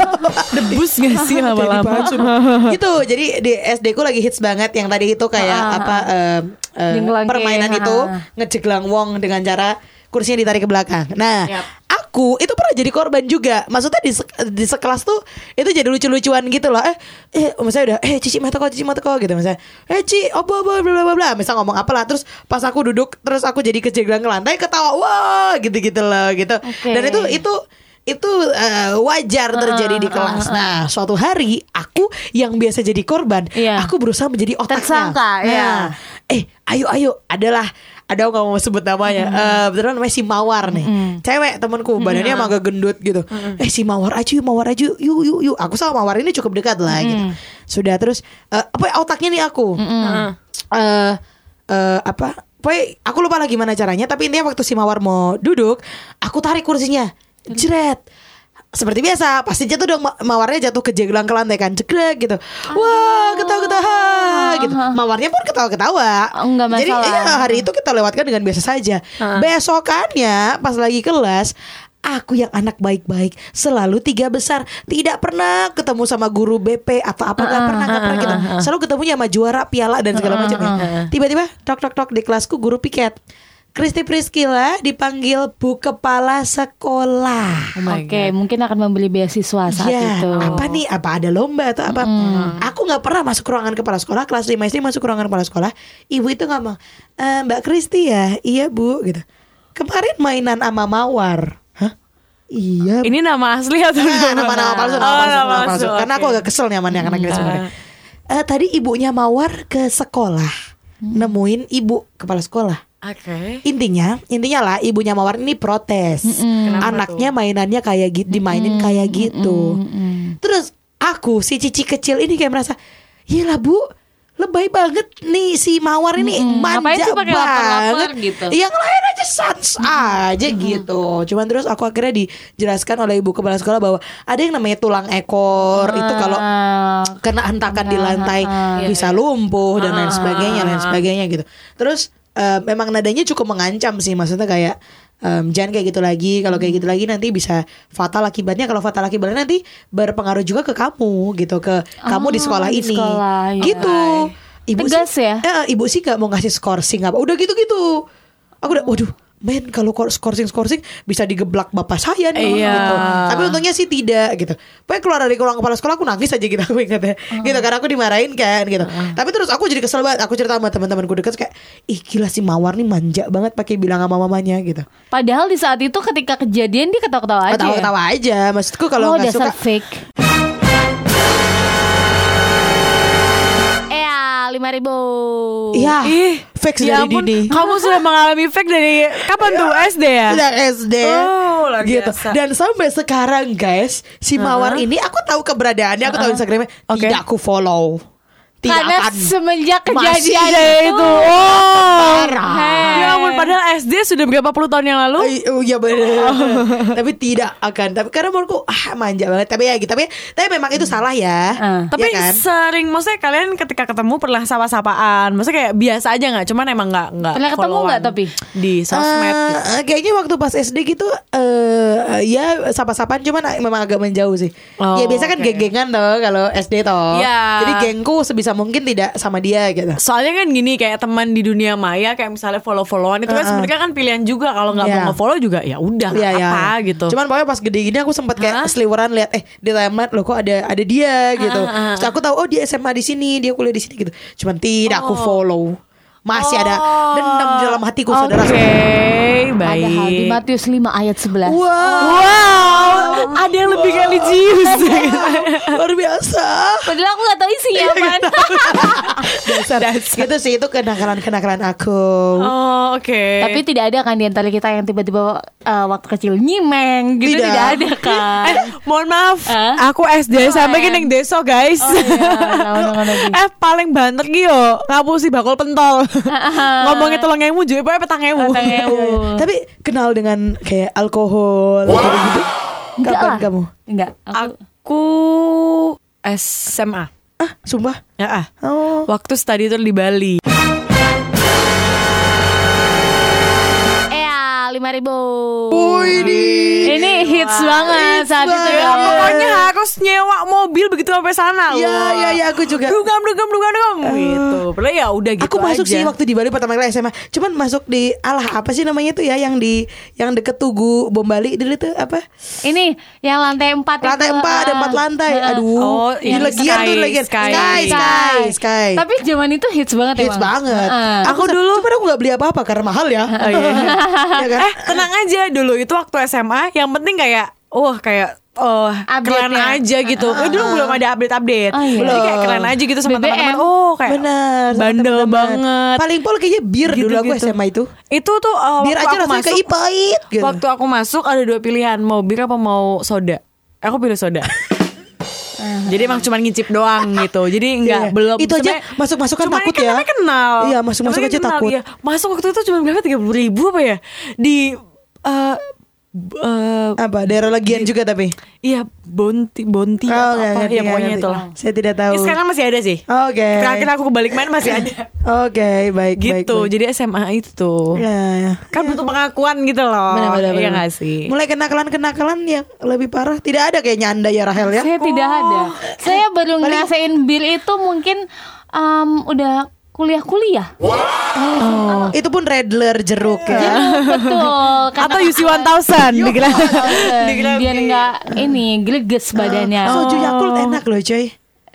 A: Debus gak sih lama-lama?
D: gitu itu jadi di SD ku lagi hits banget yang tadi itu kayak
E: Ah,
D: apa em, em,
E: Jenglangke,
D: permainan
E: ha.
D: itu Nah, ngejeglang wong dengan cara kursinya ditarik ke belakang. Nah, aku itu pernah jadi korban juga. Maksudnya di, se- di sekelas tuh itu jadi lucu-lucuan gitu loh. Eh, eh misalnya udah eh cici mata kok, cici mata kok gitu misalnya. Eh, ci, obo obo bla bla bla, bla. Misal ngomong apa lah terus pas aku duduk terus aku jadi kejeglang ke lantai ketawa wah gitu-gitu loh gitu.
E: Oke.
D: Dan itu itu itu eh, wajar terjadi di kelas. Nah, suatu hari aku yang biasa jadi korban,
E: Iya.
D: aku berusaha menjadi otaknya.
E: Tersangka,
D: nah,
E: iya.
D: Eh, ayo ayo, adalah ada nggak mau sebut namanya. Eh, beneran namanya si Mawar nih. Cewek temanku, badannya emang agak gendut gitu. Eh, si Mawar aja, yuk, Mawar aja, yuk yuk yuk. Aku sama Mawar ini cukup dekat lah gitu. Sudah terus eh, apa ya, otaknya nih aku. eh eh, apa? Pokoknya aku lupa lah gimana caranya Tapi intinya waktu si Mawar mau duduk Aku tarik kursinya Jret seperti biasa pasti jatuh dong ma- mawarnya jatuh ke jeglang ke lantai kan cekrek gitu wah ketawa ketawa gitu mawarnya pun ketawa ketawa
E: Oh, enggak
D: jadi
E: masalah.
D: iya, hari itu kita lewatkan dengan biasa saja besokannya pas lagi kelas aku yang anak baik-baik selalu tiga besar tidak pernah ketemu sama guru BP atau apa nggak pernah nggak pernah gitu selalu ketemunya sama juara piala dan segala macamnya tiba-tiba tok tok tok di kelasku guru piket Kristi Priscila dipanggil bu kepala sekolah
E: Oke, mungkin akan membeli beasiswa saat
D: Ya,
E: itu.
D: apa nih? Apa ada lomba atau apa? Aku nggak pernah masuk ruangan kepala sekolah kelas 5 SD masuk ruangan kepala sekolah. Ibu itu ngomong, e, Mbak Kristi ya, iya bu, gitu. Kemarin mainan ama mawar, hah? Iya.
A: Ini nama asli atau Iya. Oh,
D: Ah, nama-nama palsu, nama palsu, nama palsu. Karena aku
A: oke.
D: agak kesel nih sama anak-anak ini sebenarnya. eh, tadi ibunya Mawar ke sekolah nemuin ibu kepala sekolah.
A: Oke.
D: Intinya, intinya lah ibunya Mawar ini protes. Anaknya mainannya kayak gitu, dimainin kayak gitu. Terus aku si Cici kecil ini kayak merasa, "Yalah, Bu, lebay banget nih si Mawar ini
E: Ngapain
D: manja
E: sih pakai lapar-lapar
D: banget."
E: gitu?
D: Yang lain Iya, aja sans aja gitu. Cuman terus aku akhirnya dijelaskan oleh ibu kepala sekolah bahwa ada yang namanya tulang ekor itu kalau
E: Ah, Iya,
D: kena hentakan di lantai bisa lumpuh dan
E: ah,
D: lain sebagainya lain sebagainya gitu terus eh, memang nadanya cukup mengancam sih maksudnya kayak em, jangan kayak gitu lagi kalau kayak
E: Mm.
D: gitu lagi nanti bisa fatal akibatnya kalau fatal akibatnya nanti berpengaruh juga ke kamu gitu ke kamu di sekolah
E: Ah, di
D: ini
E: sekolah, ya.
D: gitu ibu
E: Tegas
D: sih,
E: ya?
D: eh, ibu sih gak mau ngasih skorsing apa udah gitu gitu aku udah waduh Men kalau kor- skorsing-skorsing bisa digeblak bapak saya nih
A: Iya.
D: gitu. Tapi untungnya sih tidak gitu. Pokoknya keluar dari ruang kepala sekolah aku nangis aja gitu aku ingatnya.
E: Hmm.
D: Gitu karena aku dimarahin kan gitu. Tapi terus aku jadi kesel banget. Aku cerita sama teman-temanku dekat kayak ih gila si Mawar nih manja banget pakai bilang sama mamanya gitu.
E: Padahal di saat itu ketika kejadian dia ketawa-ketawa aja. ya?
D: Ketawa-ketawa aja. Maksudku kalau
E: oh,
D: nggak
E: dasar
D: suka
E: fake. Ea, Eh, ya, lima ribu.
D: Iya.
A: Ih,
D: Fix
A: ya
D: dari
A: ampun,
D: Dini.
A: Kamu sudah mengalami fake dari kapan tuh SD ya?
D: Sejak SD
A: Oh, luar
D: Iya, gitu.
A: biasa.
D: Dan sampai sekarang guys, si Mawar ini aku tahu keberadaannya, aku tahu Instagramnya,
A: Oke.
D: tidak aku follow. Tidak
E: Karena
D: akan.
E: semenjak
A: Masih
E: kejadian
A: aja
E: itu,
A: itu. Oh.
D: Parah.
A: Ya ampun, padahal SD sudah berapa puluh tahun yang lalu.
D: Ay, Oh iya bener Tapi tidak akan Tapi karena menurutku ah, Manja banget Tapi ya gitu Tapi, tapi memang itu salah ya
E: Eh.
D: Iya
A: Tapi
D: kan?
A: sering maksudnya kalian ketika ketemu pernah sapa-sapaan. Maksudnya kayak biasa aja nggak? Cuman emang nggak nggak
E: Pernah ketemu
A: followan
E: nggak tapi?
A: di sosmed
D: Eh,
A: gitu.
D: Kayaknya waktu pas SD gitu eh Ya sapa-sapaan Cuman memang agak menjauh sih
A: Oh,
D: Ya biasa kan
A: oke.
D: geng-gengan toh Kalau SD toh
A: Ya.
D: Jadi gengku sebisa mungkin tidak sama dia gitu
A: Soalnya kan gini kayak teman di dunia maya kayak misalnya follow-followan itu kan
D: Uh-uh.
A: sebenarnya kan pilihan juga kalau nggak
D: Iya.
A: mau nge-follow juga ya udah
D: Iya,
A: nggak
D: iya.
A: apa gitu.
D: Cuman pokoknya pas gede gini aku sempat kayak
A: Hah?
D: seliweran lihat eh di timeline loh kok ada ada dia gitu.
A: ah, ah.
D: Terus aku tahu oh dia SMA di sini, dia kuliah di sini gitu. Cuman tidak
A: Oh.
D: aku follow. Masih ada dendam di dalam hatiku saudara.
A: Oke, baik.
E: Padahal di Matius 5 ayat 11.
D: Wow,
A: Wow, ada yang lebih religius.
D: luar biasa.
E: Padahal aku gak tahu isinya
D: Iya,
E: apaan.
D: Dasar. Gitu sih itu kenakalan-kenakalan aku.
A: oh, oke.
D: ya.
E: Tapi tidak ada kan di antara kita yang tiba-tiba eh, waktu kecil nyimeng gitu
D: Tidak.
E: tidak, ada kan.
A: Eh, mohon maaf,
E: Eh?
A: aku
D: Oh,
A: SD sampai
D: iya.
A: gini yang deso guys.
E: Lawan-lawan lagi.
A: eh paling banter ki yo ngapusi bakul pentol. Ngomongnya tolong ewu juga pokoknya petang ewu.
D: Oh,
E: Petang ewu.
D: Iya, Tapi kenal dengan kayak alkohol gitu.
E: Enggak
D: Kapan
E: lah.
D: kamu?
E: Enggak. Aku
A: Aku SMA.
D: Ah, sumpah.
A: Ya ah.
D: Oh.
A: Waktu study tour di Bali.
D: Iya.
E: Eh, Ea, 5000
D: Wih,
E: Ini hits banget saat itu
D: banget.
E: ya.
A: Ya, pokoknya harus nyewa mobil begitu sampai sana.
D: Iya,
A: Wah.
D: iya, iya, aku juga. Eh.
A: Dugam, dugam, dugam, dugam. gitu. Padahal ya udah gitu
D: aku masuk
A: aja.
D: sih waktu di Bali pertama kali SMA cuman masuk di alah apa sih namanya tuh ya yang di yang deket Tugu Bom Bali dulu tuh apa
E: Ini yang lantai eh, 4
D: lantai empat ada empat lantai aduh
A: eh, Oh,
D: di
A: yang
D: legian
A: Sky,
D: tuh legian
A: Sky. Eh,
D: sky sky sky,
E: Tapi zaman itu hits banget
D: hits
E: emang.
D: banget
E: Heeh.
D: aku dulu cuman aku nggak beli apa apa karena mahal ya Iya kan
A: Oh, Eh, tenang aja dulu itu waktu SMA. Yang penting kayak, wah kayak Oh, keren
E: Update-nya.
D: ya?
A: aja gitu. Eh,
D: Ah,
A: dulu belum ada update-update.
E: Oh, iya.
A: Jadi kayak keren aja gitu sama
E: BBM.
A: teman-teman. Oh, kayak
D: benar sama
A: bandel
D: teman-teman.
A: banget.
D: paling pol kayaknya bir Iya, dulu aku
A: Gitu-gitu.
D: SMA itu
A: Gitu Itu tuh eh,
D: bir
A: waktu
D: aja
A: aku
D: rasanya
A: masuk-
D: kayak pahit gitu
A: Waktu aku masuk ada dua pilihan Mau bir apa mau soda Aku pilih soda Jadi emang cuman ngicip doang gitu Jadi enggak
D: Iya.
A: belum
D: Itu aja
A: sebenarnya-
D: masuk-masuk kan
A: cuman
D: takut
A: kan
D: ya.
A: namanya kenal
D: Iya, masuk-masuk
A: Namanya
D: aja
A: kenal,
D: takut.
A: iya. Masuk waktu itu cuma berapa 30 ribu apa ya Di eh, b- eh,
D: apa daerah legian juga tapi
A: Iya Bonti Bonti
D: Oh,
A: atau
D: nggak
A: apa
D: ngerti,
A: Ya
D: nggak
A: pokoknya
D: ngerti.
A: itulah
D: Saya tidak tahu.
A: Ini sekarang masih ada sih
D: Oke.
A: Terakhir aku kebalik main masih ada
D: Oke, baik, baik,
A: Gitu
D: baik.
A: Jadi SMA itu
D: Ya, ya.
A: Kan butuh pengakuan gitu loh
D: Benar, benar,
A: Iya
D: benar.
A: nggak sih
D: Mulai kenakalan-kenakalan yang lebih parah Tidak ada kayaknya anda ya Rahel ya
E: Saya tidak ada. Saya baru
D: Paling-
E: ngerasain bir itu mungkin em, udah kuliah-kuliah.
D: Itu pun redler jeruk
A: Iya.
D: ya
E: Betul. karena-
A: Atau UC 1000 dikira
D: gitu.
E: Biar nggak ini geleges badannya.
A: Iya,
D: Ah.
A: Oh.
D: Soju Yakult Oh, enak loh coy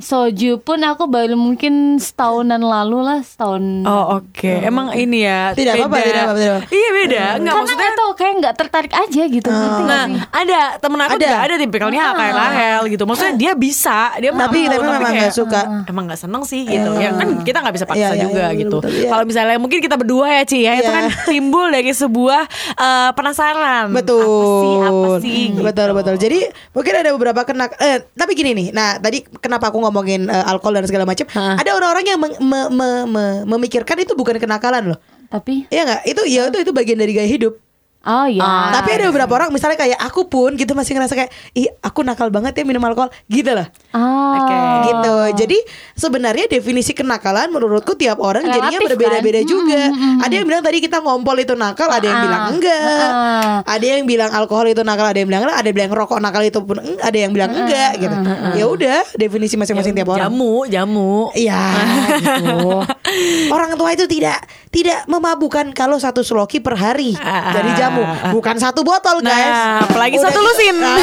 E: soju pun aku baru mungkin setahunan lalu lah setahun
A: Oh oke, emang ini ya
D: Tidak apa-apa,
A: beda.
D: tidak apa-apa, tidak apa-apa. Kan
A: Iya beda, nggak
E: karena
A: maksudnya
E: nggak tahu kayak nggak tertarik aja gitu
D: Ah.
E: ngerti nggak
A: Nah,
E: sih?
A: ada temen aku
D: Ada. Ah.
A: juga ada tipikalnya kayak Rahel gitu. Maksudnya dia bisa, dia
D: Tapi-
A: mampu,
D: tapi memang
A: kayak,
D: nggak suka.
A: ah. Emang nggak seneng sih gitu. Ya kan kita nggak bisa
D: Iya,
A: paksa
D: iya,
A: juga
D: iya, betul,
A: gitu.
D: betul, iya.
A: Kalau misalnya mungkin kita berdua ya Ci ya, itu
D: Iya.
A: kan timbul dari sebuah eh, penasaran.
D: Betul.
A: Apa sih? Apa sih? gitu.
D: Betul betul. Jadi mungkin ada beberapa kena eh tapi gini nih. Nah, tadi kenapa aku ngomongin eh, alkohol dan segala macam? Ada orang-orang yang meng- me- me- me- memikirkan itu bukan kenakalan loh.
E: tapi
D: Iya nggak? Itu ya itu itu bagian dari gaya hidup.
E: oh ya
A: Ah,
D: Ah. Tapi
A: iya
D: ada beberapa orang misalnya kayak aku pun gitu masih ngerasa kayak ih aku nakal banget ya minum alkohol gitu lah.
E: oh
A: Oke.
D: Gitu. Jadi sebenarnya definisi kenakalan menurutku tiap orang jadinya
E: Relatif,
D: berbeda-beda
E: kan?
D: juga. Ada yang bilang tadi kita ngompol itu nakal, ada yang bilang enggak.
E: ah.
D: Ada yang bilang alkohol itu nakal, ada yang bilang enggak, ada yang bilang rokok nakal itu pun eng- ada yang bilang enggak gitu. Ya udah, definisi masing-masing tiap
E: Ya
D: orang.
A: Jamu, jamu.
D: Iya gitu. Orang tua itu tidak tidak memabukan kalau satu sloki per hari.
A: Ah.
D: Jadi jamu, bukan satu botol,
A: Nah,
D: guys.
A: apalagi satu
D: kita-
A: lusin.
D: Nah,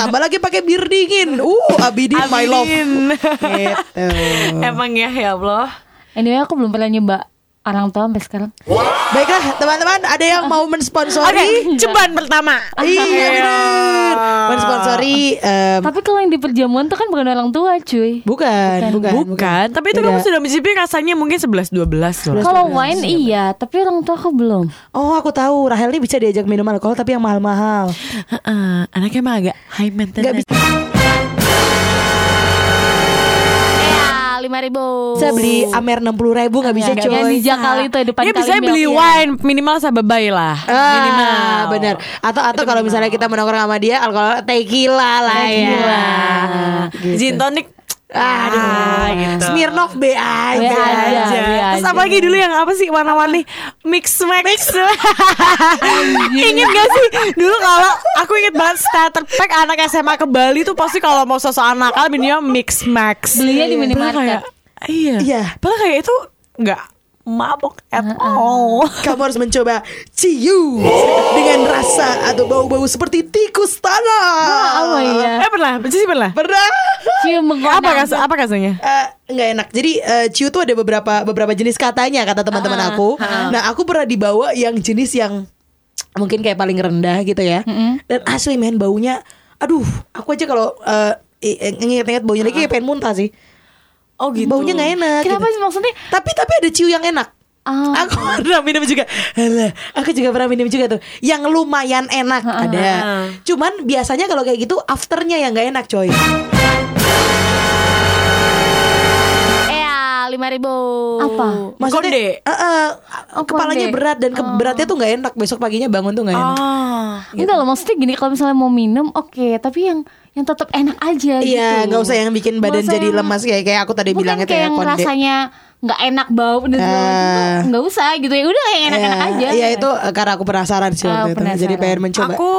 D: tambah lagi pakai bir dingin. Uh, abidin, my love.
A: Aminin.
D: Gitu.
A: Emang ya ya Allah.
E: anyway aku belum pernah nyoba orang tua sampai sekarang
D: Baiklah, teman-teman, ada yang mau
A: Oke,
D: mensponsori?
A: ceban pertama.
D: Oh, Iya benar. Mensponsori em,
E: tapi kalau yang di perjamuan tuh kan bukan orang tua cuy
D: bukan, bukan, Iya.
A: Bukan, tapi itu kamu
D: Beda.
A: sudah mencicipi rasanya mungkin 11 12 loh.
E: kalau wine iya tapi orang tua aku belum
D: Oh, aku tahu. Rahel ini bisa diajak minum alkohol tapi yang mahal-mahal.
A: Heeh, anaknya emang agak high
D: Nggak
A: maintenance.
D: bisa
E: ya lima ribu
A: Oh.
D: beli Amer 60 ribu nggak bisa
E: Ya, Nggak
D: coy.
E: bisa kali itu depan
A: Dia
E: kali
A: Iya, bisa beli
E: milknya.
A: wine minimal sababai lah. minimal.
D: Ah, benar. Atau atau kalau misalnya kita menongkrong sama dia alkohol tequila lah ya.
A: Iya.
D: Gitu.
A: Gin tonic.
D: Aduh,
A: gitu.
D: Smirnoff B aja.
E: B aja. Iya,
A: Terus
E: iya,
A: apa lagi dulu yang apa sih warna-warni mix max. ingat gak sih dulu kalau aku inget banget starter pack anak SMA ke Bali tuh pasti kalau mau sosok anak kan minumnya mix max.
E: Belinya di
A: Padahal
E: minimarket.
A: kayak- Iya.
D: Iya.
A: Padahal kayak itu nggak mabok at all.
D: Kamu harus mencoba ciu dengan rasa atau bau-bau seperti tikus tanah.
E: oh iya
A: Eh pernah, sih pernah.
D: Pernah?
E: cium menggoda
A: Apa ras apa rasanya?
D: Eh, nggak enak. Jadi eh, ciu tuh ada beberapa beberapa jenis katanya kata teman-teman
E: Ah,
D: aku. Nah aku pernah dibawa yang jenis yang mungkin kayak paling rendah gitu ya. Dan asli men baunya, aduh aku aja kalau eh, i- i- nginget-nginget baunya lagi kayak pengen muntah sih.
A: Oh
D: Baunya nggak enak.
E: Ah. kenapa
D: gitu.
E: sih maksudnya
D: Tapi tapi ada ciu yang enak.
E: Ah.
D: Aku pernah minum juga. Alah, aku juga pernah minum juga tuh. Yang lumayan enak
E: Ah,
D: ada. Cuman biasanya kalau kayak gitu afternya yang nggak enak coy.
C: Ea, lima ribu.
E: apa
A: Konde.
D: Maksudnya, eh, eh, kepalanya
E: Oh, konde. Oh.
D: berat dan ke, beratnya tuh nggak enak. Besok paginya bangun tuh nggak enak.
A: Ah.
E: Enggak loh maksudnya gini kalau misalnya mau minum oke tapi yang yang tetap enak aja gitu.
D: Iya, nggak usah yang bikin badan
E: Nggak usah
D: jadi
E: yang-
D: lemas kayak kayak aku tadi
E: Bukan
D: bilang itu
E: kayak
D: ya
E: yang
D: konde.
E: rasanya nggak enak bau dan segala macam tuh
D: Ah.
E: nggak usah gitu ya udah yang enak-enak
D: Ya,
E: aja.
D: Iya itu eh, karena aku penasaran sih
E: Ah,
D: waktu itu. Jadi
E: penasaran.
D: pengen mencoba.
A: Aku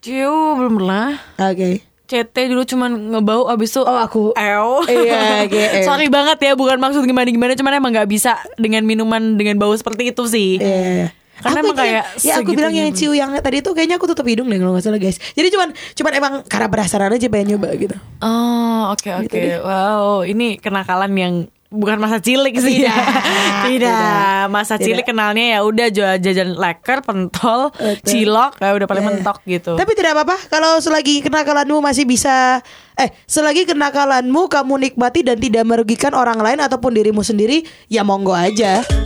A: ciu belum pernah.
D: Oke.
A: CT dulu cuman ngebau abis itu
D: Oh, aku-
A: Ew.
D: Iya, GM.
A: Sorry banget ya bukan maksud gimana-gimana Cuman emang gak bisa dengan minuman dengan bau seperti itu sih
D: Iya, iya, iya.
A: Karena
D: Aku
A: emang
D: itu
A: kayak
D: yang- ya aku bilang yang ciu yang tadi tuh kayaknya aku tutup hidung deh kalau nggak salah guys. Jadi cuman cuman emang karena penasaran aja pengen nyoba gitu.
A: Oh oke oke Wow ini kenakalan yang bukan masa cilik sih ya.
D: Tidak.
A: tidak,
D: Tidak.
A: masa
D: Tidak.
A: cilik kenalnya ya udah jual jajan leker pentol
D: Betul.
A: cilok ya udah paling
D: Iya.
A: mentok gitu
D: Tapi tidak apa-apa kalau selagi kenakalanmu masih bisa eh selagi kenakalanmu kamu nikmati dan tidak merugikan orang lain ataupun dirimu sendiri ya monggo aja.